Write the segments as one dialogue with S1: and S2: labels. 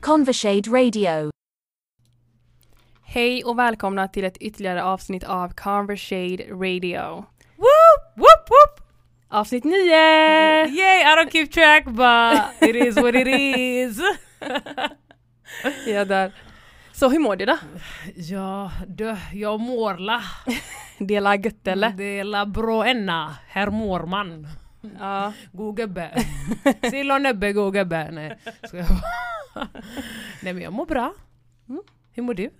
S1: Conversade Radio.
S2: Hej och välkomna till ett ytterligare avsnitt av Conversade Radio.
S3: Whoop, whoop, whoop!
S2: Avsnitt 9!
S3: Yay, I don't keep track but it is what it is.
S2: Ja, där. Så hur mår du då?
S3: ja, du, jag mår la.
S2: Det är la gött eller?
S3: Det är la bra enna. Här mår man.
S2: Ja.
S3: God gubbe. Sill och näbbe, god gubbe. Nej, ska jag Nej men jag mår bra.
S2: Mm.
S3: Hur mår du?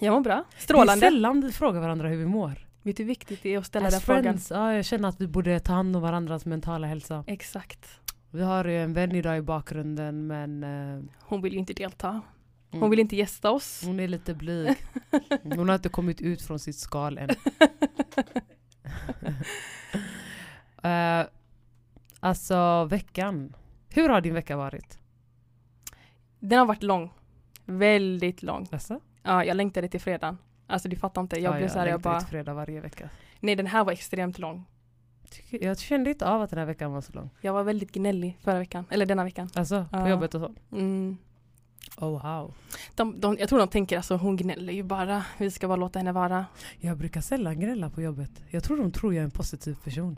S2: Jag mår bra.
S3: Det är
S2: Strålande.
S3: sällan vi frågar varandra hur vi mår.
S2: Vet du hur viktigt det är att ställa
S3: As
S2: den frågan?
S3: friends, ja, jag känner att vi borde ta hand om varandras mentala hälsa.
S2: Exakt.
S3: Vi har ju en vän idag i bakgrunden men eh,
S2: Hon vill ju inte delta. Hon
S3: Mm.
S2: vill inte gästa oss.
S3: Hon är lite blyg. Hon har inte kommit ut från sitt skal än. Eh, alltså veckan. Hur har din vecka varit?
S2: Den har varit lång. Väldigt lång.
S3: Jaså?
S2: Ja, jag längtade till fredagen. Alltså du fattar inte. Jag
S3: Ja,
S2: blev såhär, jag
S3: längtar
S2: bara,
S3: ut fredag varje vecka.
S2: nej den här var extremt lång.
S3: Tycker- Jag kände inte av att den här veckan var så lång.
S2: Jag var väldigt gnällig förra veckan, eller denna veckan.
S3: Alltså på
S2: Ja.
S3: jobbet och så.
S2: Mm.
S3: Oh wow.
S2: De, de, jag tror de tänker alltså hon gnäller ju bara, vi ska bara låta henne vara.
S3: Jag brukar sällan gnälla på jobbet. Jag tror de tror jag är en positiv person.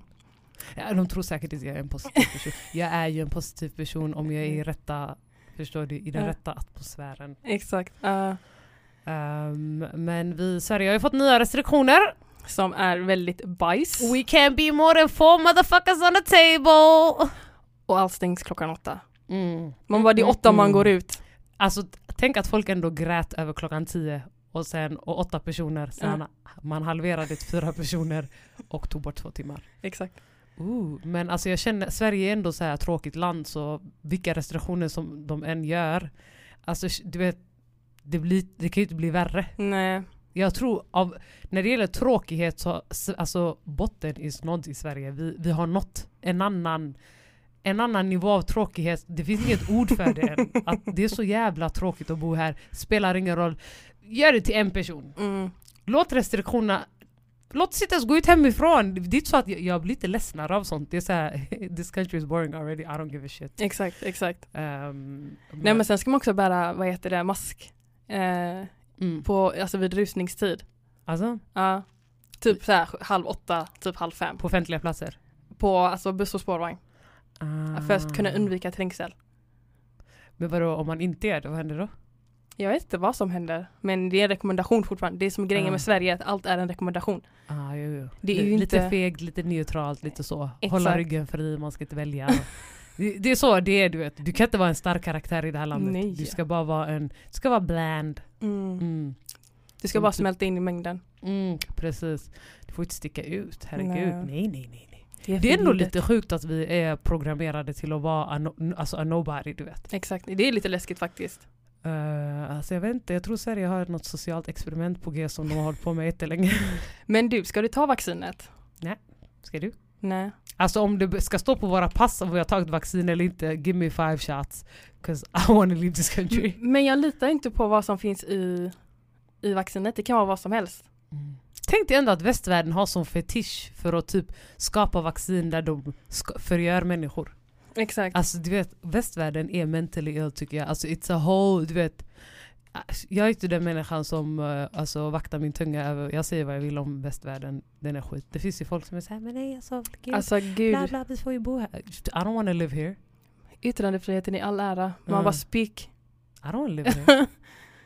S3: Ja, de tror säkert inte jag är en positiv person. Jag är ju en positiv person om jag är i rätta, förstår du, i den
S2: Ja.
S3: rätta atmosfären.
S2: Exakt. Ja.
S3: Ehm, men vi i Sverige har ju fått nya restriktioner.
S2: som är väldigt bajs.
S3: We can be more than four motherfuckers on the table!
S2: Och allt stängs klockan åtta.
S3: Mm.
S2: Man bara, det är åtta man
S3: Mm.
S2: går ut.
S3: Alltså t- tänk att folk ändå grät över klockan tio och sen och åtta personer, sen man halverade till fyra personer och tog bort två timmar.
S2: Exakt.
S3: Ooh, men alltså jag känner, Sverige är ändå så här tråkigt land så vilka restriktioner som de än gör, alltså sh- du vet, det, blir, det kan ju inte bli värre.
S2: Nej.
S3: Jag tror av, när det gäller tråkighet så, s- alltså botten is nådd i Sverige. Vi, vi har nått en annan, en annan nivå av tråkighet. Det finns inget ord för det än. Att det är så jävla tråkigt att bo här. Spelar ingen roll. Gör det till en person.
S2: Mm.
S3: Låt restriktionerna Låt oss inte ens gå ut hemifrån. Det är inte så att jag, jag blir lite ledsnare av sånt. Det är så här, this country is boring already, I don't give a shit.
S2: Exakt, exakt.
S3: Ehm,
S2: Nej men sen ska man också bära, vad heter det, mask. Eh,
S3: mm.
S2: på, alltså vid rusningstid.
S3: Alltså,
S2: Ja. Typ så här halv åtta, typ halv fem.
S3: på offentliga platser.
S2: På alltså buss och spårvagn.
S3: Ah.
S2: För att kunna undvika trängsel.
S3: Men vadå, om man inte gör det, vad händer då?
S2: Jag vet inte vad som händer. Men det är en rekommendation fortfarande. Det är som grejen
S3: Ja.
S2: med Sverige, att allt är en rekommendation.
S3: Ah, jo, jo.
S2: Det är
S3: Li-
S2: ju
S3: lite
S2: inte-
S3: fegt, lite neutralt, lite så. Hålla
S2: Exakt.
S3: ryggen fri, man ska inte välja. det, det är så det är du vet. Du kan inte vara en stark karaktär i det här landet.
S2: Nej.
S3: Du ska bara vara en, du ska vara bland. Mm.
S2: Du ska bara smälta in i mängden.
S3: Mm, precis. Du får inte sticka ut, herregud.
S2: Nej.
S3: Nej, nej, nej. nej. Det är ändå
S2: förbjudet.
S3: lite sjukt att vi är programmerade till att vara a, no, alltså a nobody, du vet.
S2: Exakt, det är lite läskigt faktiskt.
S3: Eh, alltså jag vet inte, jag tror Sverige har något socialt experiment på g som de har hållit på med jättelänge.
S2: Men du, ska du ta vaccinet?
S3: Ska du?
S2: Nej.
S3: Alltså om det ska stå på våra pass om vi har tagit vaccin eller inte, give me five shots. Cause I wanna leave this country.
S2: Men jag litar inte på vad som finns i, i vaccinet. Det kan vara vad som helst.
S3: Tänk dig ändå att västvärlden har som fetisch för att typ skapa vaccin där de ska- förgör människor.
S2: Exakt.
S3: Alltså du vet, västvärlden är mentally ill tycker jag. Alltså it's a whole, du vet. Jag är inte den människan som eh, alltså, vaktar min tunga över, jag säger vad jag vill om västvärlden, den är skit. Det finns ju folk som är såhär, men nej alltså, gud,
S2: Alltså
S3: bla
S2: gud,
S3: bla, vi får ju bo här. I don't wanna live here.
S2: yttrandefriheten i all ära. Man
S3: Mm.
S2: bara speak.
S3: I don't live there.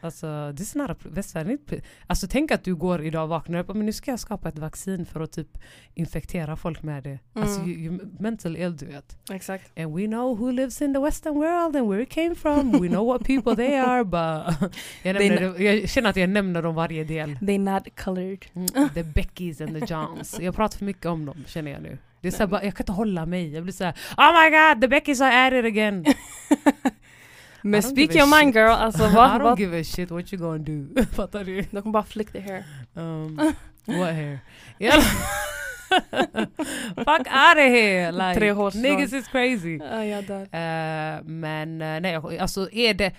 S3: alltså, this is not a, pl- västvärlden är inte pl- Alltså tänk att du går idag och vaknar upp och men nu ska jag skapa ett vaccin för att typ infektera folk med det. Alltså
S2: Mm.
S3: you, you, mental ill du vet.
S2: Exakt.
S3: And we know who lives in the western world and where it came from. We know what people they are but jag,
S2: They
S3: nämner, det- jag känner att jag nämner dem varje del.
S2: They not colored.
S3: Mm, the Beckys and the Johns. Jag pratar för mycket om dem känner jag nu. Det är så här, bara, jag kan inte hålla mig. Jag blir såhär Oh my god the Beckys are at it again.
S2: Men
S3: I don't
S2: speak
S3: give a
S2: your mind
S3: shit.
S2: girl. Alltså
S3: I
S2: vad?
S3: don't
S2: vad?
S3: give a shit what you gonna do. Fattar du?
S2: De kommer bara flick the hair.
S3: Um, what hair? Yeah. Fuck out of here! Like,
S2: Tre hårstrån.
S3: niggas is crazy. Uh,
S2: Ah, jag dör.
S3: Eh, men eh, nej, jag- alltså är det...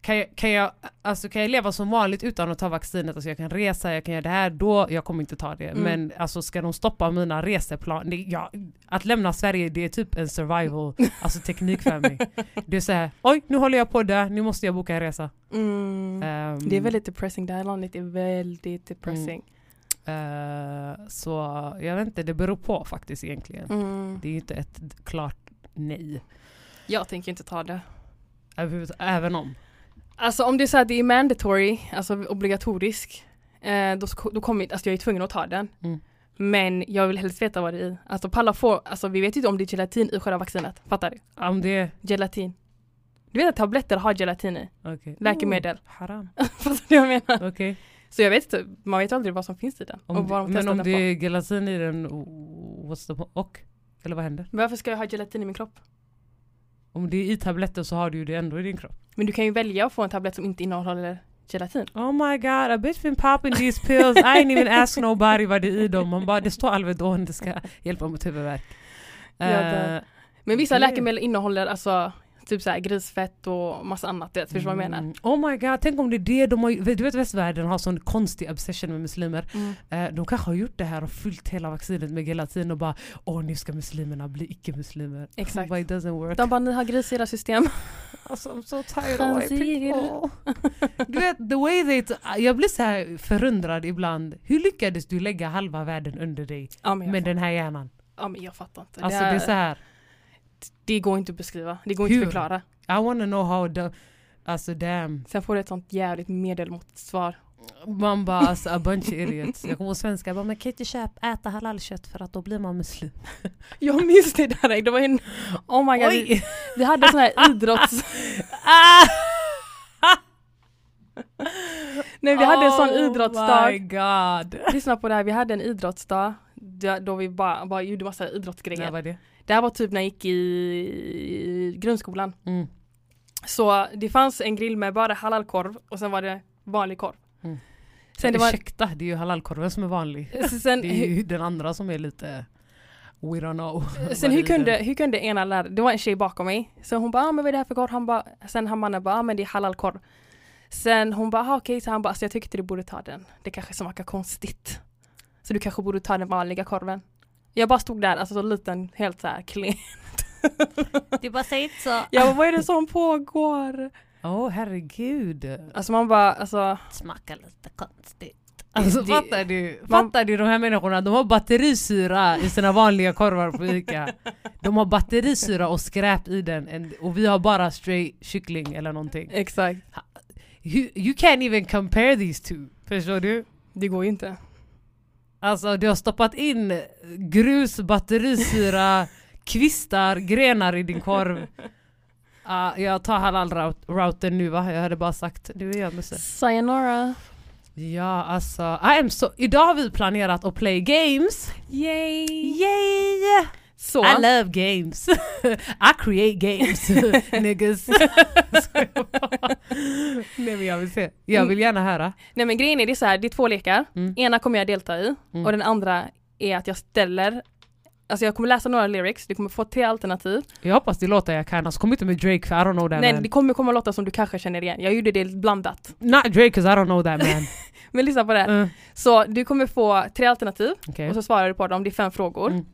S3: kan jag, kan, jag, alltså kan jag leva som vanligt utan att ta vaccinet, alltså jag kan resa, jag kan göra det här, då, jag kommer inte ta det.
S2: Mm.
S3: Men alltså ska de stoppa mina reseplaner, ja, att lämna Sverige det är typ en survival, alltså teknik för mig. Det är såhär, oj nu håller jag på där, nu måste jag boka en resa.
S2: Mm.
S3: Ehm,
S2: Det är väldigt depressing, det här landet är väldigt depressing.
S3: eh, så jag vet inte, det beror på faktiskt egentligen.
S2: Mm.
S3: Det är ju inte ett klart nej.
S2: Jag tänker inte ta det.
S3: Överhuvud- Även om.
S2: Alltså om det är så här, det är mandatory, alltså obligatorisk, eh, då, sk- då kommer alltså jag är tvungen att ta den.
S3: Mm.
S2: Men jag vill helst veta vad det är i. Alltså palla får, alltså vi vet ju inte om det är gelatin i själva vaccinet. Fattar du?
S3: Om det...
S2: Gelatin. Du vet att tabletter har gelatin i,
S3: Okej.
S2: läkemedel.
S3: Oh, haram.
S2: Fattar du vad jag menar?
S3: Okej.
S2: Så jag vet inte, man vet aldrig vad som finns i den.
S3: Om
S2: och vad
S3: det-
S2: de
S3: Men
S2: testar
S3: om
S2: den
S3: det
S2: på.
S3: är gelatin i den, oh, what's the po- och? Eller vad händer?
S2: Men Varför ska jag ha gelatin i min kropp?
S3: Om det är i tabletten så har du ju det ändå i din kropp.
S2: Men du kan ju välja att få en tablett som inte innehåller gelatin.
S3: Oh my god, a bitch been popping these pills. I ain't even ask nobody vad det är i dem. Man bara, det står Alvedon, det ska hjälpa mot huvudvärk.
S2: Jag dör.
S3: Eh,
S2: Men vissa
S3: Det-
S2: läkemedel innehåller alltså typ så här grisfett och massa annat. Vet, förstår du vad jag menar?
S3: mm, Oh my god, tänk om det är det de har Du vet västvärlden har sån konstig obsession med muslimer.
S2: Mm.
S3: Eh, de kanske har gjort det här och fyllt hela vaccinet med gelatin och bara åh nu ska muslimerna bli icke-muslimer.
S2: Exakt.
S3: But it doesn't work.
S2: De bara, ni har gris i era system.
S3: Alltså I'm so tired of white
S2: Chansier.
S3: people. Du vet, the way they... t- jag blir så här förundrad ibland. Hur lyckades du lägga halva världen under dig
S2: Ja men jag,
S3: med den här hjärnan?
S2: ja, men jag fattar inte.
S3: Alltså det är så här.
S2: det går inte att beskriva, det går inte
S3: Hur?
S2: att förklara.
S3: I wanna know how the... Alltså damn.
S2: Sen får du ett sånt jävligt medelmåttsvar.
S3: Man bara alltså a bunch of idiots. Jag kommer ihåg svenskar bara man kan inte köpa, äta halalkött för att då blir man muslim.
S2: Jag minns det där, det var en... Oh my god, vi,
S3: Oj!
S2: vi hade sån här idrotts...
S3: Ah!
S2: Nej vi hade en sån
S3: Oh
S2: idrottsdag.
S3: my god.
S2: Lyssna på det här, vi hade en idrottsdag där- då vi bara, bara gjorde massa idrottsgrejer.
S3: När var det?
S2: Det här var typ när jag gick i grundskolan.
S3: Mm.
S2: Så det fanns en grill med bara halalkorv och sen var det vanlig korv.
S3: Mm.
S2: Sen det var,
S3: Ursäkta, det är ju halalkorven som är vanlig.
S2: sen,
S3: Det är ju den andra som är lite... We don't know.
S2: Eh, Sen hur kunde, hur kunde ena lärare, det var en tjej bakom mig, så hon bara ah, men vad är det här för korv? Han bara, sen han mannen bara ah, men det är halalkorv. Sen hon bara ah, okej, så han bara alltså, jag tyckte du borde ta den. Det kanske smakar konstigt. Så du kanske borde ta den vanliga korven. Jag bara stod där, alltså så liten, helt så här klen.
S3: Du bara säger inte så.
S2: Jag bara vad är det som pågår?
S3: Åh herregud.
S2: Alltså man bara alltså,
S3: Smakar lite konstigt. Alltså
S2: Det-
S3: fattar du?
S2: man-
S3: Fattar du de här människorna? De har batterisyra i sina vanliga korvar på Ica. De har batterisyra och skräp i den en- och vi har bara stray kyckling eller någonting.
S2: exakt.
S3: You, you can't even compare these two. Förstår du?
S2: Det går ju inte.
S3: Alltså du har stoppat in grus, batterisyra, kvistar, grenar i din korv. Ah, jag tar halal-routen nu va? Jag hade bara sagt, nu är jag musse.
S2: Sayonara.
S3: Ja alltså, I am so, idag har vi planerat att play games.
S2: Yay!
S3: Yay!
S2: Så.
S3: I love games. I create games. Niggas. Nej men jag vill se. Jag vill gärna höra.
S2: Nej men grejen är det är så här, det är två lekar.
S3: Mm.
S2: Ena kommer jag delta i
S3: Mm.
S2: och den andra är att jag ställer Alltså jag kommer läsa några lyrics, du kommer få tre alternativ.
S3: Jag hoppas det låter jag kan, alltså kom inte med Drake för I don't know that
S2: Nej,
S3: man.
S2: det kommer komma låtar som du kanske känner igen. Jag gjorde det blandat.
S3: Not Drake 'cause I don't know that man.
S2: Men lyssna på det här.
S3: Uh,
S2: Så du kommer få tre alternativ
S3: okay.
S2: och så svarar du på dem, det är fem frågor.
S3: Mm.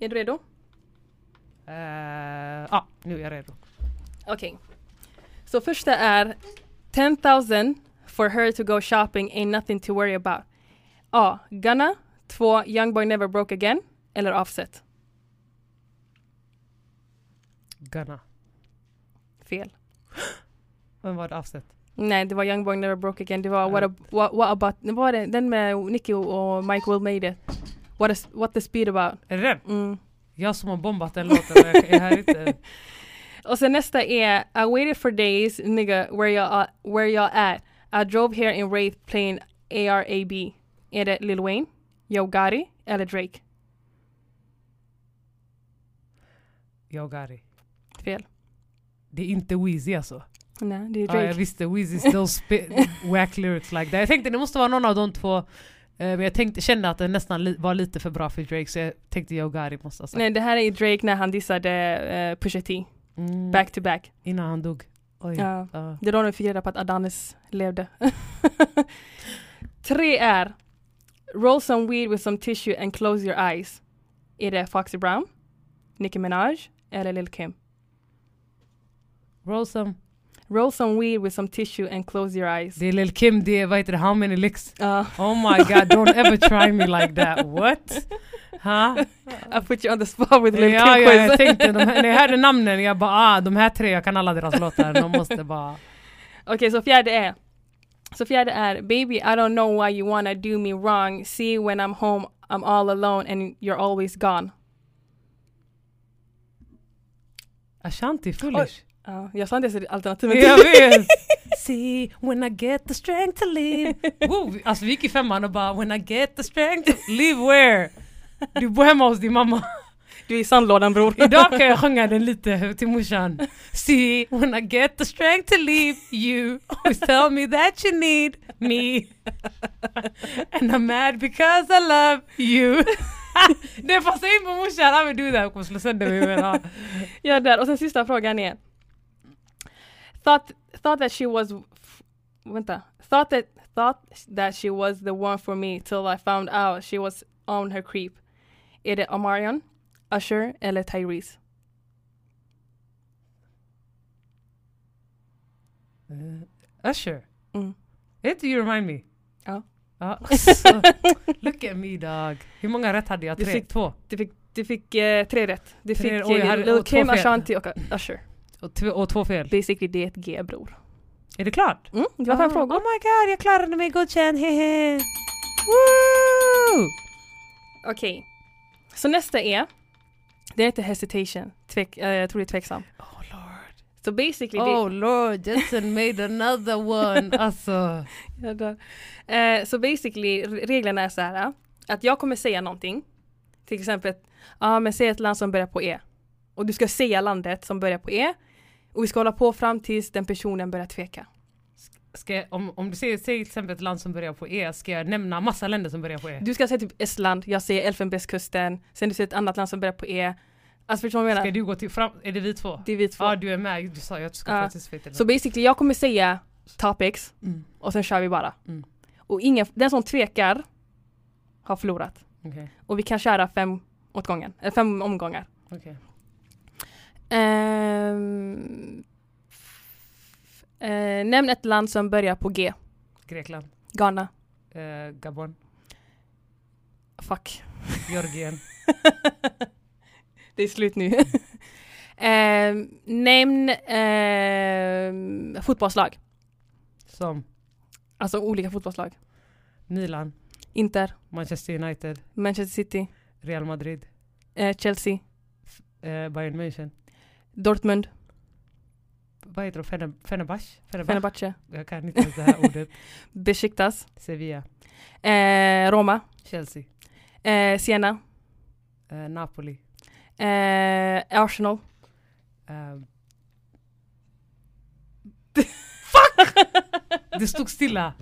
S2: Är du redo?
S3: Eh, Ja, nu är jag redo.
S2: Okej. Så första är 10,000 for her to go shopping ain't nothing to worry about. A. Gunna. 2. Young boy never broke again. Eller Offset.
S3: Gunna.
S2: Fel.
S3: Vem var det avsett?
S2: Nej, det var Young Boy Never Broke Again. Det var
S3: Ja.
S2: what, a, what, what about... Vad var det? Den med Nicki och och Mike Will Made It. What, is, what the speed about.
S3: Är det den?
S2: Mm.
S3: Jag som har bombat den låten och jag, jag hör inte.
S2: Och sen nästa är I waited for days, nigga, where y'all, where y'all at? I drove here in Wraith playing ARAB. Är det Lil Wayne, Yo Gotti eller Drake?
S3: Jag och Gary.
S2: Fel.
S3: Det är inte Weezy alltså.
S2: Nej, det är
S3: Ja, jag
S2: Drake.
S3: visste, Weezy still spit whack lyrics like that. Jag tänkte det måste vara någon av de två, eh, men jag tänkte, kände att den nästan li- var lite för bra för Drake så jag tänkte jag och Gary måste ha sagt.
S2: Nej, det här är Drake när han dissade eh, Pusha T.
S3: Mm,
S2: Back to back.
S3: Innan han dog. Oj.
S2: Ja.
S3: Ja.
S2: Det är då vi fick reda på att Adonis levde. Tre är Roll some weed with some tissue and close your eyes. Är det Foxy Brown, Nicki Minaj eller Lil Kim?
S3: Roll some.
S2: Roll some weed with some tissue and close your eyes. Uh,
S3: Det är Lil Kim, det är vad heter det, how many licks?
S2: Ja.
S3: Oh my god, don't ever try me like that. What? Huh?
S2: I put you on the spot with Lil
S3: ja,
S2: Kim
S3: ja,
S2: quiz.
S3: jag tänkte, de här, när jag hörde namnen, jag bara ah, de här tre, jag kan alla deras låtar, de måste bara...
S2: Okej, så fjärde är. Så fjärde är Baby, I don't know why you wanna do me wrong. See when I'm home, I'm all alone and you're always gone.
S3: Ashanti foolish.
S2: Ja, Uh, jag sa inte ens alternativet.
S3: Jag vet! See when I get the strength to live. Wow, alltså vi gick i femman och bara when I get the strength to live where? Du bor hemma hos din mamma.
S2: Du är i sandlådan bror.
S3: Idag kan jag sjunga den lite till morsan. See when I get the strength to live you always tell me that you need me. And I'm mad because I love you. det passar in på morsan, han vill do that. Hon kommer slå sönder mig men ja.
S2: Ja, där. Och sen sista frågan är. Thought, thought that she was... f- Vänta. Thought that, thought that she was the one for me till I found out she was on her creep. Är det Omarion, Usher eller Tyrese?
S3: Eh, Usher.
S2: Mm.
S3: Vet du, you remind me?
S2: Ja.
S3: Ja, så, Look at me dog. Hur många rätt hade jag?
S2: Du
S3: Tre?
S2: fick-
S3: Två?
S2: Du fick, du fick eh, tre rätt. Du
S3: Tre-
S2: fick
S3: oj, jag
S2: eh,
S3: hade-
S2: Lil
S3: och två
S2: Kim,
S3: fel.
S2: Ashanti och Usher.
S3: Och, tv- och två fel.
S2: Basically det är ett G bror.
S3: Är det klart?
S2: Mm, det var fem
S3: Ah,
S2: frågor.
S3: Oh my god, jag klarade mig godkänd, hehe! Woo!
S2: Okej. Så nästa är. Det heter hesitation. Tvek, eh, jag tror det är tveksam.
S3: Oh lord.
S2: Så basically det,
S3: Oh lord, Jetson made another one. Alltså.
S2: Jag dör. Eh, så basically, re- reglerna är så här. eh, Att jag kommer säga någonting. Till exempel, ja ah, men säg ett land som börjar på E. Och du ska säga landet som börjar på E. Och vi ska hålla på fram tills den personen börjar tveka.
S3: Ska jag, om, om du säger, säger till exempel ett land som börjar på E, ska jag nämna massa länder som börjar på E?
S2: Du ska säga typ Estland, jag säger Elfenbenskusten. Sen du säger ett annat land som börjar på E. Alltså förstår du vad jag
S3: Ska
S2: menar?
S3: du gå till fram... Är det vi två?
S2: Det är vi två.
S3: Ja, ah, du är med. Du sa ju att du ska
S2: Ja.
S3: få ett
S2: Så basically, jag kommer säga topics
S3: Mm.
S2: och sen kör vi bara.
S3: Mm.
S2: Och ingen, den som tvekar har förlorat.
S3: Okej.
S2: Och vi kan köra fem, åt gången, eller fem omgångar.
S3: okej.
S2: Ehm, f- eh, nämn ett land som börjar på G.
S3: Grekland,
S2: Ghana.
S3: eh, Gabon,
S2: Fuck.
S3: Georgien.
S2: Det är slut nu. Ehm, nämn ehm, fotbollslag.
S3: Som
S2: Alltså olika fotbollslag.
S3: Milan,
S2: Inter,
S3: Manchester United,
S2: Manchester City,
S3: Real Madrid,
S2: eh, Chelsea,
S3: eh, Bayern München.
S2: Dortmund,
S3: Vad heter de? Fener- Fenerbahce? Fenerbahce?
S2: Fenerbahce,
S3: Jag kan inte ens det här ordet.
S2: Besiktas,
S3: Sevilla,
S2: eh, Roma,
S3: Chelsea,
S2: eh, Siena,
S3: eh, Napoli.
S2: eh, Arsenal.
S3: Eh. Fuck! Det stod stilla.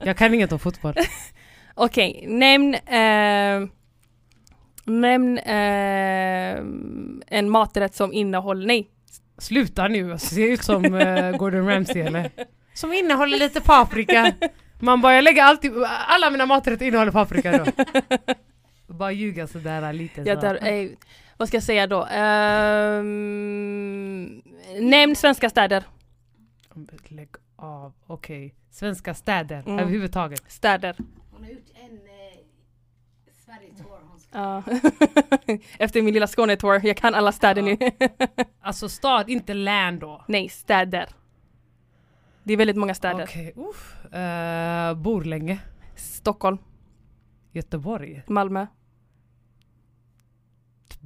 S3: Jag kan inget om fotboll.
S2: Okej, nämn, eh, nämn eh, en maträtt som innehåller, nej.
S3: Sluta nu, Alltså, ser jag ut som eh, Gordon Ramsay eller? Som innehåller lite paprika. Man bara, jag lägger alltid, alla mina maträtter innehåller paprika då. Bara ljuga sådär lite.
S2: Jag
S3: så.
S2: dör, eh, vad ska jag säga då? Eh, nämn svenska städer.
S3: Lägg av, okej. Svenska städer
S2: Mm.
S3: överhuvudtaget.
S2: Städer.
S1: Hon har gjort en eh, Sverige-tour. Hon ska...
S2: Ja. Efter min lilla Skånetour, jag kan alla städer nu.
S3: Alltså stad, inte län då.
S2: nej, städer. Det är väldigt många städer.
S3: Okej, uff. Eh, Borlänge,
S2: Stockholm,
S3: Göteborg.
S2: Malmö.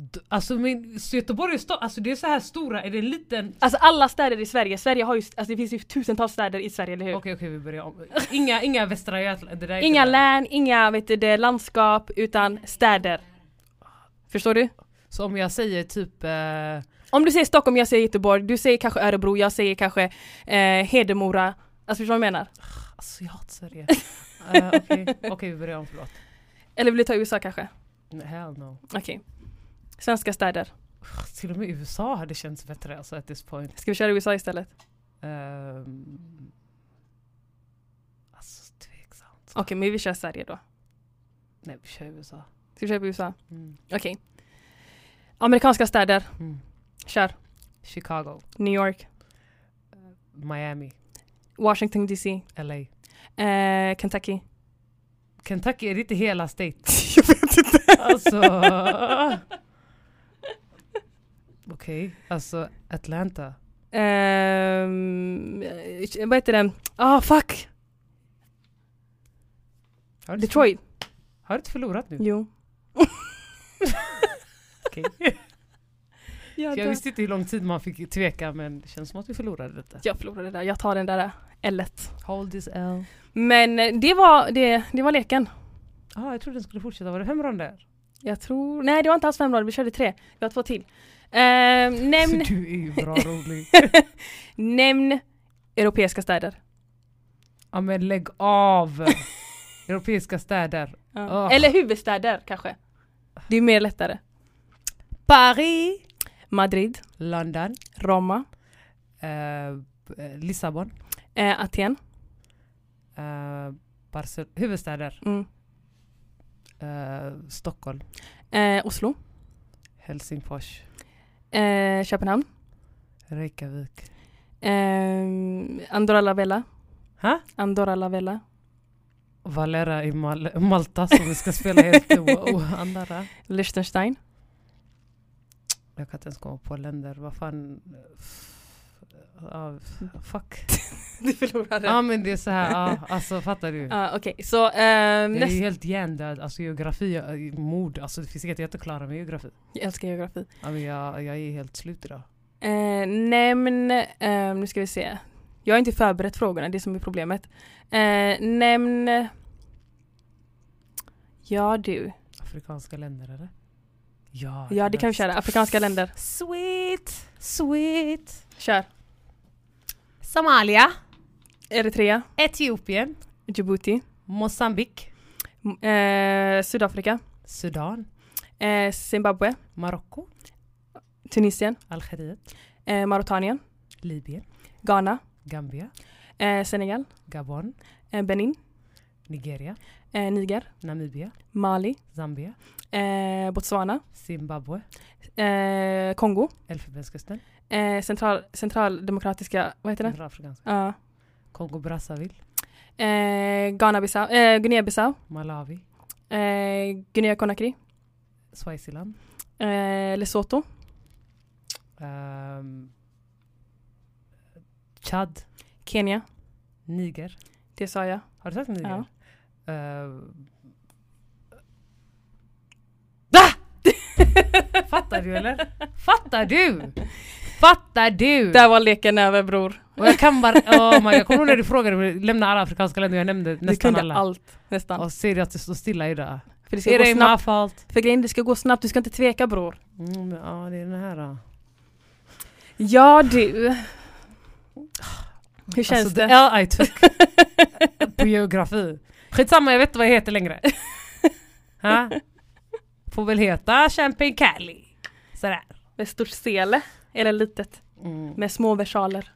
S3: D- Alltså min, så Göteborg är stad, alltså det är så här stora, är det en liten?
S2: Alltså alla städer i Sverige, Sverige har ju, alltså det finns ju tusentals städer i Sverige, eller hur?
S3: Okej okej vi börjar om. Inga, inga Västra Götaland. det där är inte
S2: Inga
S3: bra.
S2: län, inga vet du, det, landskap, utan städer. Förstår du?
S3: Så om jag säger typ eh,
S2: Om du säger Stockholm, jag säger Göteborg, du säger kanske Örebro, jag säger kanske eh, Hedemora. Alltså förstår du vad jag menar?
S3: Alltså jag hatar Sverige. Eh, Okej, Okej, vi börjar om, förlåt.
S2: Eller vill du ta USA kanske?
S3: Hell no.
S2: Okej. Svenska städer.
S3: Till och med USA hade känts bättre alltså at this point.
S2: Ska vi köra USA istället?
S3: Ehm, alltså tveksamt.
S2: Okej, men vi kör Sverige då.
S3: Nej vi kör USA.
S2: Ska vi köra på USA?
S3: Mm.
S2: Okej. Amerikanska städer.
S3: Mm.
S2: Kör.
S3: Chicago,
S2: New York.
S3: Miami,
S2: Washington DC.
S3: LA.
S2: Eh, Kentucky.
S3: Kentucky är det inte hela state.
S2: Jag vet inte.
S3: Alltså. Okej, alltså Atlanta.
S2: Ehm, eh, vad heter den? Ah fuck!
S3: Har du inte-
S2: Detroit.
S3: Har du inte förlorat nu?
S2: Jo.
S3: Okej.
S2: Jag,
S3: Jag
S2: dör.
S3: visste inte hur lång tid man fick tveka men det känns som att vi förlorade detta.
S2: jag förlorade där. Jag tar den där äh, l
S3: Hold this L.
S2: Men eh, det var, det, det var leken.
S3: ah, jag trodde den skulle fortsätta. Var det fem ronder?
S2: Jag tror... Nej det var inte alls fem rader, vi körde tre. Vi har två till. Ehm, nämn,
S3: Så Alltså, du är ju bra rolig.
S2: nämn europeiska städer.
S3: Ja men lägg av! Europeiska städer.
S2: Ja.
S3: Ah.
S2: Eller huvudstäder kanske. Det är mer lättare.
S3: Paris!
S2: Madrid,
S3: London.
S2: Roma,
S3: Eh, eh, Lissabon.
S2: eh, Aten.
S3: Eh, Barcel- huvudstäder.
S2: Mm.
S3: Eh, Stockholm.
S2: Eh, Oslo,
S3: Helsingfors.
S2: eh, Köpenhamn,
S3: Reykjavik.
S2: eh, Andorra la Vella.
S3: Ha?
S2: Andorra la Vella.
S3: Valera i Mal- Malta som vi ska spela helt wow. Andra.
S2: Liechtenstein.
S3: Jag kan inte ens komma på länder. Vad fan. Ja, fuck.
S2: Du förlorade.
S3: Ja men det är så här. ja, alltså fattar du?
S2: Ah, Okej, så ehm,
S3: Jag är
S2: nästa.
S3: ju helt hjärndöd. Alltså geografi, eh, mod. Alltså det finns inget jag inte klarar med geografi.
S2: Jag älskar geografi.
S3: Ja, men jag, jag är helt slut idag.
S2: Eh, nämn, ehm, nu ska vi se. Jag har inte förberett frågorna, det är som är problemet. Eh, nämn... Ja du.
S3: Afrikanska länder eller? Ja,
S2: Ja det kan vi köra. Afrikanska länder.
S3: Sweet, sweet.
S2: Kör.
S3: Somalia,
S2: Eritrea.
S3: Etiopien,
S2: Djibouti.
S3: Mozambik,
S2: M- Eh, Sydafrika.
S3: Sudan,
S2: Eh, Zimbabwe.
S3: Marocko,
S2: Tunisien.
S3: Algeriet,
S2: Eh, Mauretanien.
S3: Libyen,
S2: Ghana.
S3: Gambia,
S2: Eh, Senegal.
S3: Gabon,
S2: Eh, Benin.
S3: Nigeria,
S2: Eh, Niger.
S3: Namibia,
S2: Mali.
S3: Zambia,
S2: Eh, Botswana.
S3: Zimbabwe,
S2: Eh, Kongo.
S3: Elfenbenskusten,
S2: Eh, central, centraldemokratiska, vad heter det?
S3: Centralafrikanska,
S2: Ja.
S3: Kongo-Brazzaville,
S2: Eh, Ghana-Bissau, eh, Guinea-Bissau,
S3: Malawi,
S2: eh, Guinea-Conakry,
S3: Swaziland,
S2: eh, Lesotho,
S3: ehm, Chad,
S2: Kenya,
S3: Niger.
S2: det sa jag.
S3: Har du sagt Niger?
S2: Ja.
S3: Eh, Da! Fattar du eller? Fattar du? Fattar du?
S2: Där var leken över bror.
S3: Och jag kan bara, oh my, jag kommer ihåg när du frågade mig, lämna alla afrikanska länder, jag nämnde
S2: du
S3: nästan
S2: kunde
S3: alla.
S2: allt nästan.
S3: Och ser du att det står stilla idag?
S2: För det ska
S3: It
S2: gå
S3: ain't
S2: snabbt.
S3: my fault.
S2: För grejen, det ska gå snabbt, du ska inte tveka bror.
S3: Mm, men, ja, det är den här då.
S2: Ja du. Ah. Hur känns
S3: alltså,
S2: det?
S3: The L I took på geografi. Skitsamma, jag vet inte vad jag heter längre. Ha? Får väl heta Champagne Cali. Sådär.
S2: Med stort sele, eller litet,
S3: Mm.
S2: med små versaler.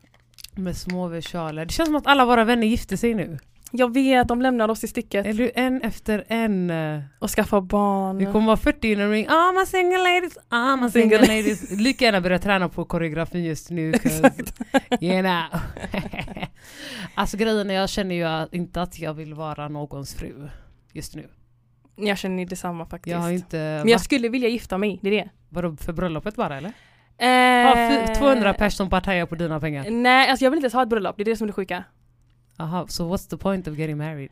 S3: Med små versaler. Det känns som att alla våra vänner gifter sig nu.
S2: Jag vet, de lämnar oss i sticket
S3: Eller hur? En efter en. eh,
S2: och skaffar barn.
S3: Vi kommer vara 40 innan ring. I'm a "Ah, single ladies, I'm a single
S2: Single
S3: ladies. Lika gärna börja träna på koreografin just nu. 'cause, You know. alltså grejen är jag känner ju att- inte att jag vill vara någons fru just nu.
S2: Jag känner detsamma faktiskt.
S3: Jag har inte...
S2: Men jag skulle vilja gifta mig, det är det.
S3: Vadå för bröllopet bara eller?
S2: Eh,
S3: Ah, fy- 200 personer som partajar på dina pengar.
S2: Nej, alltså jag vill inte ens ha ett bröllop, det är det som är det sjuka.
S3: Aha, so what's the point of getting married?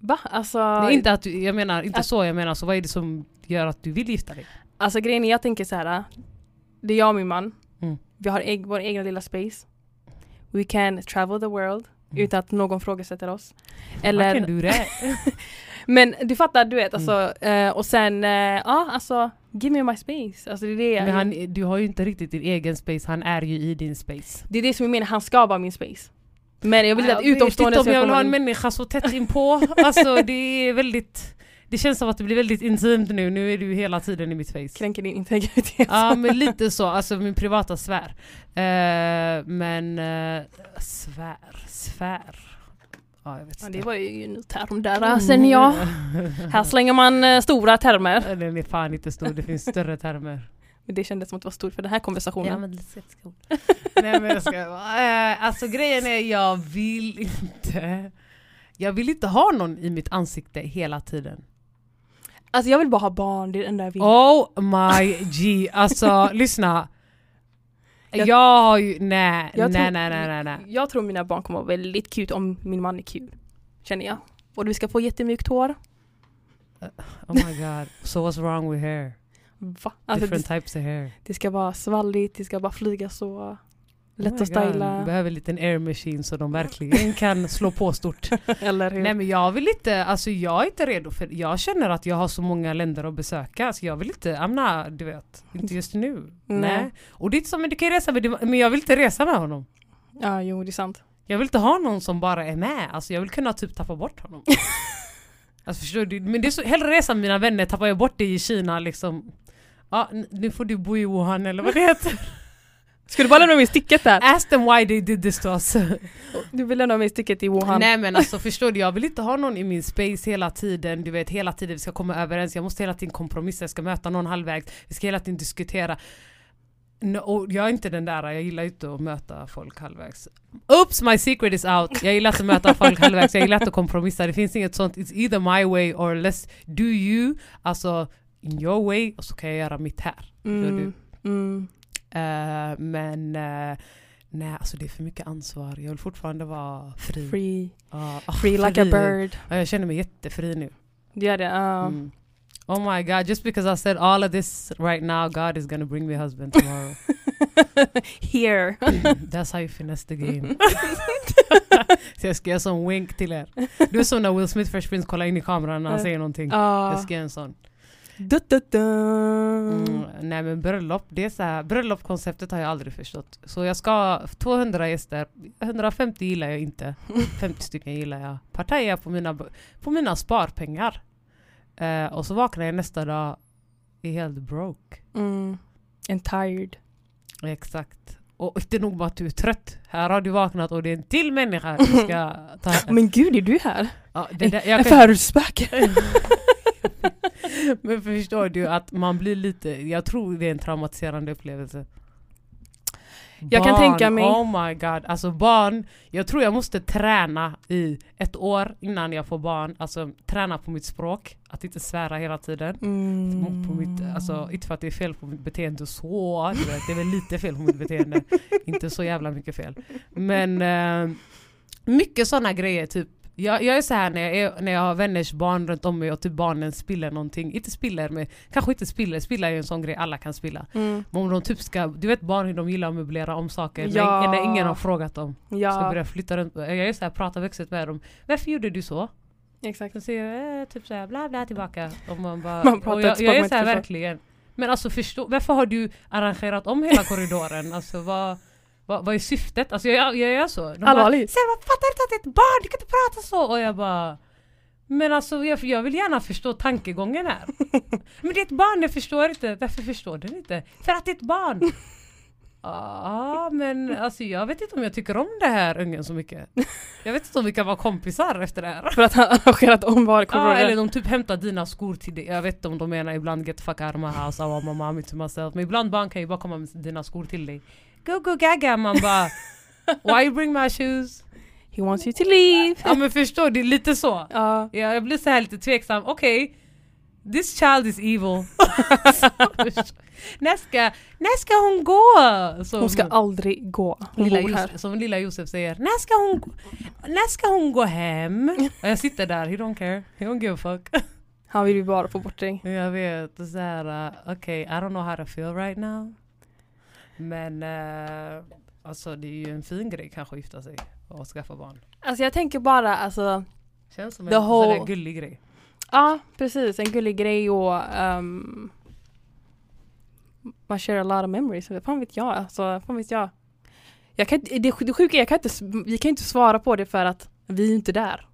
S2: Va? Alltså,
S3: Nej, inte att du, jag menar inte
S2: Att-
S3: så, jag menar så vad är det som gör att du vill gifta dig?
S2: alltså grejen är, jag tänker så här. Det är jag och min man.
S3: Mm.
S2: Vi har eg- vår egna lilla space. We can travel the world
S3: Mm.
S2: utan att någon frågasätter oss.
S3: I can
S2: Eller,
S3: do that.
S2: men du fattar, du vet alltså.
S3: Mm.
S2: Eh, och sen, eh, ja alltså, give me my space. Alltså det är det,
S3: Men han, du har ju inte riktigt din egen space, han är ju i din space.
S2: det, är det som jag menar, han ska vara min space. Men jag vill inte att utomstående
S3: vet inte om jag vill
S2: komma
S3: ha en
S2: in.
S3: människa så tätt inpå. Alltså det är väldigt... Det känns som att det blir väldigt intimt nu, nu är du hela tiden i mitt face.
S2: Kränker din integritet.
S3: Ja men lite så, alltså min privata sfär. Eh, men eh, svär, svär. Ja jag vet
S2: Ja,
S3: inte.
S2: det var ju en ny term där sen ja. Här slänger man eh, stora termer.
S3: Nej, Den är fan inte stor, det finns större termer.
S2: Men det kändes som att det var stort för den här konversationen.
S3: Ja, men det ska inte gå. Nej men jag ska, eh, alltså grejen är jag vill inte Jag vill inte ha någon i mitt ansikte hela tiden.
S2: Alltså jag vill bara ha barn, det är det enda jag vill.
S3: Oh my g, alltså lyssna.
S2: Jag-
S3: Jag har ju, nej,
S2: Jag
S3: nej,
S2: tror-
S3: nej, nej, nej, nej.
S2: Jag tror mina barn kommer vara väldigt cute om min man är cute. Känner jag. Och du ska få jättemjukt hår.
S3: Oh my god, so what's wrong with hair?
S2: Va? Alltså,
S3: Different
S2: det,
S3: types of hair.
S2: det ska vara svalligt, det ska bara flyga så. Lätt
S3: Oh my
S2: att styla.
S3: God, Behöver en liten air machine så de verkligen kan slå på stort.
S2: Eller hur?
S3: Nej men jag vill inte, alltså jag är inte redo för Jag känner att jag har så många länder att besöka så jag vill inte, Amna, du vet, inte just nu.
S2: Nej.
S3: Och det är inte så, men du kan ju resa med, men jag vill inte resa med honom.
S2: Ja, jo det är sant.
S3: Jag vill inte ha någon som bara är med, alltså jag vill kunna typ tappa bort honom. alltså förstår du? Men det är så, hellre resa med mina vänner, tappar jag bort dig i Kina liksom. Ja, n- nu får du bo i Wuhan eller vad det heter.
S2: Ska du bara lämna mig i sticket där?
S3: Ask them why they did this to us.
S2: Du vill lämna mig i sticket i Wuhan.
S3: Nej men alltså förstår du, jag vill inte ha någon i min space hela tiden, du vet hela tiden vi ska komma överens, jag måste hela tiden kompromissa, jag ska möta någon halvvägs, vi ska hela tiden diskutera. Nå- och jag är inte den där, jag gillar ju inte att möta folk halvvägs. Oops my secret is out! Jag gillar inte att möta folk halvvägs, jag gillar inte att kompromissa, det finns inget sånt, it's either my way or less do you, alltså in your way och så kan jag göra mitt här.
S2: Mm. Mm.
S3: Eh, men eh, nej alltså det är för mycket ansvar, jag vill fortfarande vara fri.
S2: Free.
S3: Ja, ah,
S2: Free like a
S3: fri.
S2: bird.
S3: Ja, jag känner mig jättefri nu.
S2: Du gör det? ja.
S3: Mm. Oh my god, just because I said all of this right now, God is gonna bring me a husband tomorrow.
S2: Here.
S3: That's how you finesse the game. Så jag ska göra som wink till er. Du är som när Will Smith Fresh Prince kollar in i kameran när han
S2: Ja.
S3: säger någonting. Jag
S2: Ja.
S3: ska göra en sån.
S2: Du, du, du.
S3: Mm, nej men bröllop, det är så här, bröllopkonceptet har jag aldrig förstått. Så jag ska ha 200 gäster, 150 gillar jag inte, 50 stycken gillar jag. Partaja på mina, på mina sparpengar. Eh, och så vaknar jag nästa dag, är helt broke.
S2: Mm. And tired.
S3: Exakt. Och inte nog med att du är trött, här har du vaknat och det är en till människa du ska ta
S2: Men gud, är du här?
S3: ja, det där, jag
S2: En
S3: kan,
S2: förortsback?
S3: Men förstår du att man blir lite, jag tror det är en traumatiserande upplevelse.
S2: Jag kan tänka mig-
S3: Oh my god, alltså barn, jag tror jag måste träna i ett år innan jag får barn, alltså träna på mitt språk, att inte svära hela tiden.
S2: Mm.
S3: På mitt, alltså, inte för att det är fel på mitt beteende så, du vet, det är väl lite fel på mitt beteende. inte så jävla mycket fel. Men eh, mycket sådana grejer typ. Jag, jag är så här när jag, är, när jag har vänners barn runt om mig och typ barnen spiller någonting. Inte spiller, men kanske inte spiller. Spilla är ju en sån grej alla kan spilla.
S2: Mm.
S3: Men om de typ ska, du vet barn hur de gillar att möblera om saker
S2: Ja.
S3: när, när ingen har frågat dem. Så börjar
S2: Ja,
S3: jag flytta runt. Jag är så här, pratar växelt med dem. Varför gjorde du så?
S2: exakt.
S3: Sen säger jag eh, typ såhär bla bla tillbaka och man bara...
S2: Man pratar
S3: och
S2: ett
S3: jag,
S2: språk
S3: jag är
S2: man
S3: såhär
S2: inte förstår.
S3: verkligen. Men alltså förstå, varför har du arrangerat om hela korridoren? Alltså vad, vad, vad är syftet? Alltså jag, jag gör så. De bara,
S2: Allvarligt?
S3: Sen vad fattar du inte att det är ett barn, du kan inte prata så! Och jag bara Men alltså jag, jag vill gärna förstå tankegången här. Men det är ett barn, jag förstår inte. Varför förstår den inte? För att det är ett barn! Ja men alltså jag vet inte om jag tycker om det här ungen så mycket. Jag vet inte om vi kan vara kompisar efter det här.
S2: För att han arrangerat om var
S3: Ja,
S2: korridoren.
S3: eller de typ hämtar dina skor till dig. Jag vet inte om de menar ibland get the fuck out of my house, I want my mommy to myself. Men ibland barn kan ju bara komma med dina skor till dig. Go go gaga, man bara Why you bring my shoes?
S2: He wants you to leave.
S3: Ja men förstår du, lite så.
S2: Ja.
S3: Ja, jag blir så här lite tveksam, okej This child is evil. när, ska, när ska hon gå? Som,
S2: Hon ska aldrig gå. Hon
S3: lilla
S2: bor här.
S3: Josef, som lilla Josef säger, när ska, hon, gå- när ska hon gå hem? Och jag sitter där, he don't care, he don't give a fuck.
S2: Han vill ju bara få bort dig.
S3: Jag vet, och så här, uh, okej, I don't know how to feel right now. Men eh, alltså det är ju en fin grej kanske att gifta sig och skaffa barn.
S2: Alltså jag tänker bara alltså,
S3: Känns som
S2: The
S3: en whole...
S2: whole-
S3: gullig grej.
S2: ja precis en gullig grej och ehm, man share a lot of memories. Fan vet jag alltså, fan vet jag. jag kan, inte- det, det sjuka är jag kan inte, s- vi kan inte svara på det för att vi är inte där.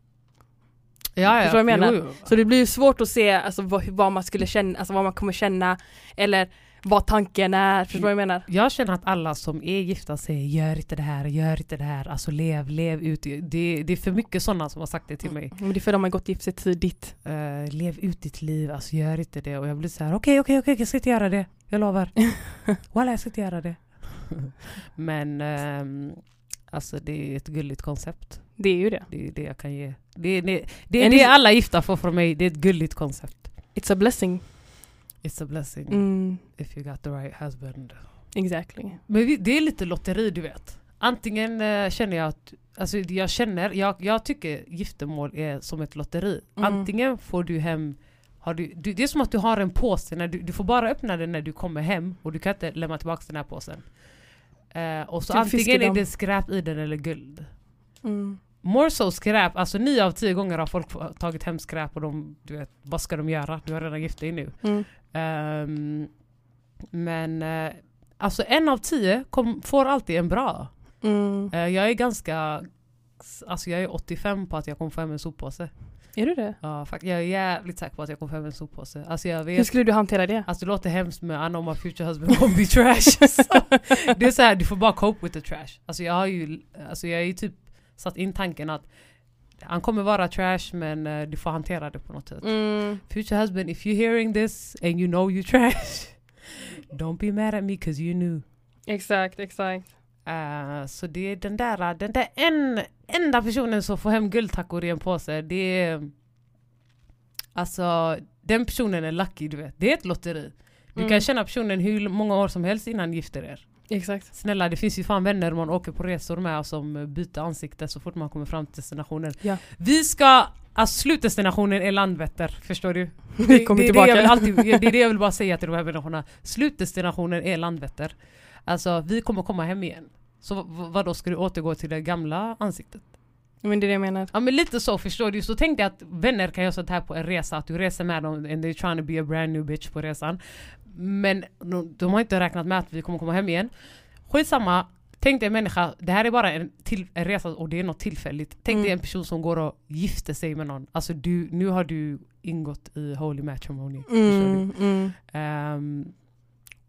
S3: Ja,
S2: Förstår du vad jag menar?
S3: Jo, jo.
S2: Så det blir ju svårt att se alltså, vad, vad man skulle känna, alltså vad man kommer känna eller vad tanken är, förstår du vad jag menar?
S3: Jag känner att alla som är gifta säger gör inte det här, gör inte det här, alltså lev, lev ut. Det, det är för mycket sådana som har sagt det till mig.
S2: Men det är för att de har gått gift sig tidigt.
S3: Eh, lev ut ditt liv, alltså gör inte det. Och jag blir så här, okej, okej, okej, jag ska inte göra det. Jag lovar. Walla, jag ska inte göra det. Men ehm, alltså det är ett gulligt koncept.
S2: Det är ju det.
S3: Det är det jag kan ge. Det är det, det, är
S2: Är
S3: det
S2: det-
S3: alla gifta får från mig, det är ett gulligt koncept.
S2: It's a blessing.
S3: It's a blessing
S2: Mm,
S3: if you got the right husband.
S2: exactly.
S3: Men vi, det är lite lotteri du vet. Antingen eh, känner jag att, alltså jag känner, jag, jag tycker giftermål är som ett lotteri.
S2: Mm.
S3: Antingen får du hem, har du, du, det är som att du har en påse, när du, du får bara öppna den när du kommer hem och du kan inte lämna tillbaka den här påsen. Eh, och så
S2: Typ
S3: antingen är
S2: fiskedamm.
S3: det skräp i den eller guld.
S2: Mm.
S3: More so skräp, alltså nio av tio gånger har folk få- tagit hem skräp och de, du vet, vad ska de göra? Du har redan gift dig nu.
S2: Mm.
S3: Ehm, men eh, alltså en av tio kom, får alltid en bra.
S2: Mm.
S3: Eh, jag är ganska, alltså jag är 85 på att jag kommer få hem en soppåse.
S2: Är du det?
S3: Ja, fakt- jag är jävligt säker på att jag kommer få hem en soppåse. Alltså jag
S2: Hur
S3: vet,
S2: skulle du hantera det?
S3: alltså det låter hemskt men I know my future husband won't be trash. Så, det är så här, du får bara cope with the trash. Alltså jag har ju, alltså jag är ju typ satt in tanken att han kommer vara trash men eh, du får hantera det på något sätt.
S2: Mm.
S3: Future husband, if you're hearing this and you know you trash, don't be mad at me cause you knew.
S2: Exakt, exakt.
S3: Eh, så det är den där, ah, den där en, enda personen som får hem guldtackor i en påse, det är... Alltså, den personen är lucky du vet. Det är ett lotteri. Du kan
S2: Mm.
S3: känna personen hur många år som helst innan ni gifter er.
S2: Exakt.
S3: Snälla, det finns ju fan vänner man åker på resor med som byter ansikte så fort man kommer fram till destinationen.
S2: Ja.
S3: Vi ska, alltså slutdestinationen är Landvetter, förstår du?
S2: Vi kommer
S3: det, är
S2: tillbaka.
S3: Det, jag vill alltid, det är det jag vill bara säga till de här människorna. Slutdestinationen är Landvetter. Alltså vi kommer komma hem igen. Så v- v- vadå, ska du återgå till det gamla ansiktet?
S2: Men det är det jag menar.
S3: Ja men lite så förstår du. Så tänk dig att vänner kan göra sånt här på en resa, att du reser med dem and they're trying to be a brand new bitch på resan. Men de- de har inte räknat med att vi kommer komma hem igen. Skitsamma, tänk dig en människa, det här är bara en, till, en resa och det är något tillfälligt. Tänk dig
S2: Mm.
S3: en person som går och gifter sig med någon. Alltså du, nu har du ingått i holy matrimony. förstår du?
S2: Mm, mm.
S3: Ehm,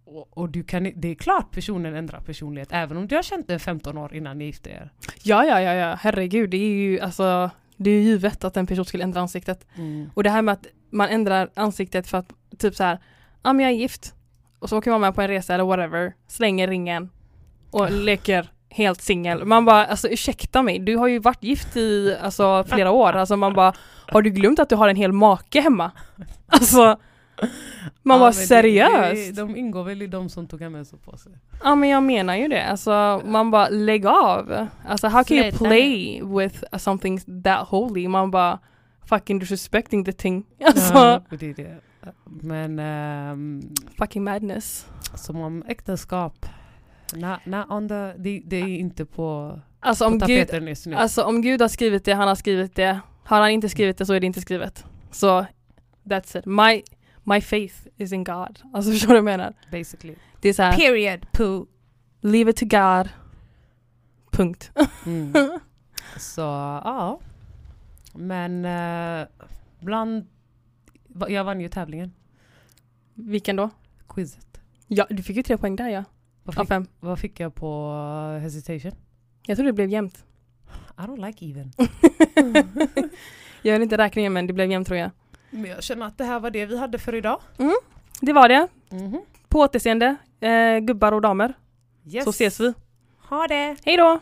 S3: och, och du kan, det är klart personen ändrar personlighet även om du har känt den 15 år innan ni gifte er.
S2: Ja, ja, ja, ja, herregud. Det är ju alltså, det är ju givet att en person skulle ändra ansiktet. Och det här med att man ändrar ansiktet för att typ så här, ja men jag är gift och så åker man med på en resa eller whatever, slänger ringen
S3: Ah.
S2: och leker helt singel. Man bara, alltså ursäkta mig, du har ju varit gift i alltså, flera år, alltså man bara, har du glömt att du har en hel make hemma? Alltså, man
S3: Ja,
S2: bara
S3: men det-
S2: seriöst?
S3: det- de ingår väl i de som tog hem en soppåse.
S2: Ja men jag menar ju det, alltså man bara lägg av. Alltså how can you
S3: Sluta.
S2: play with something that holy? Man bara fucking disrespecting the thing. Alltså
S3: Ja, och det är det. Men ehm,
S2: fucking madness.
S3: som om äktenskap, na, na, on the, det, det är inte på,
S2: Alltså
S3: på
S2: om, Gud,
S3: tapeten just nu.
S2: alltså om Gud har skrivit det, han har skrivit det. Har han inte skrivit det så är det inte skrivet. Så that's it. My, my faith is in God. Alltså förstår du vad jag menar?
S3: basically.
S2: Det är såhär,
S3: Period, poo.
S2: leave it to God. Punkt.
S3: Mm. Så ja. Men eh, bland, va- jag vann ju tävlingen,
S2: Vilken då?
S3: quizet.
S2: Ja, du fick ju tre poäng där ja.
S3: Vad
S2: Av
S3: fick,
S2: fem.
S3: vad fick jag på eh, hesitation?
S2: Jag tror det blev jämnt.
S3: I don't like even.
S2: jag gör inte räkningen men det blev jämnt tror jag.
S3: Men jag känner att det här var det vi hade för idag.
S2: Det var det. På återseende, eh, gubbar och damer.
S3: Yes.
S2: Så ses vi.
S3: Ha det!
S2: Hej då!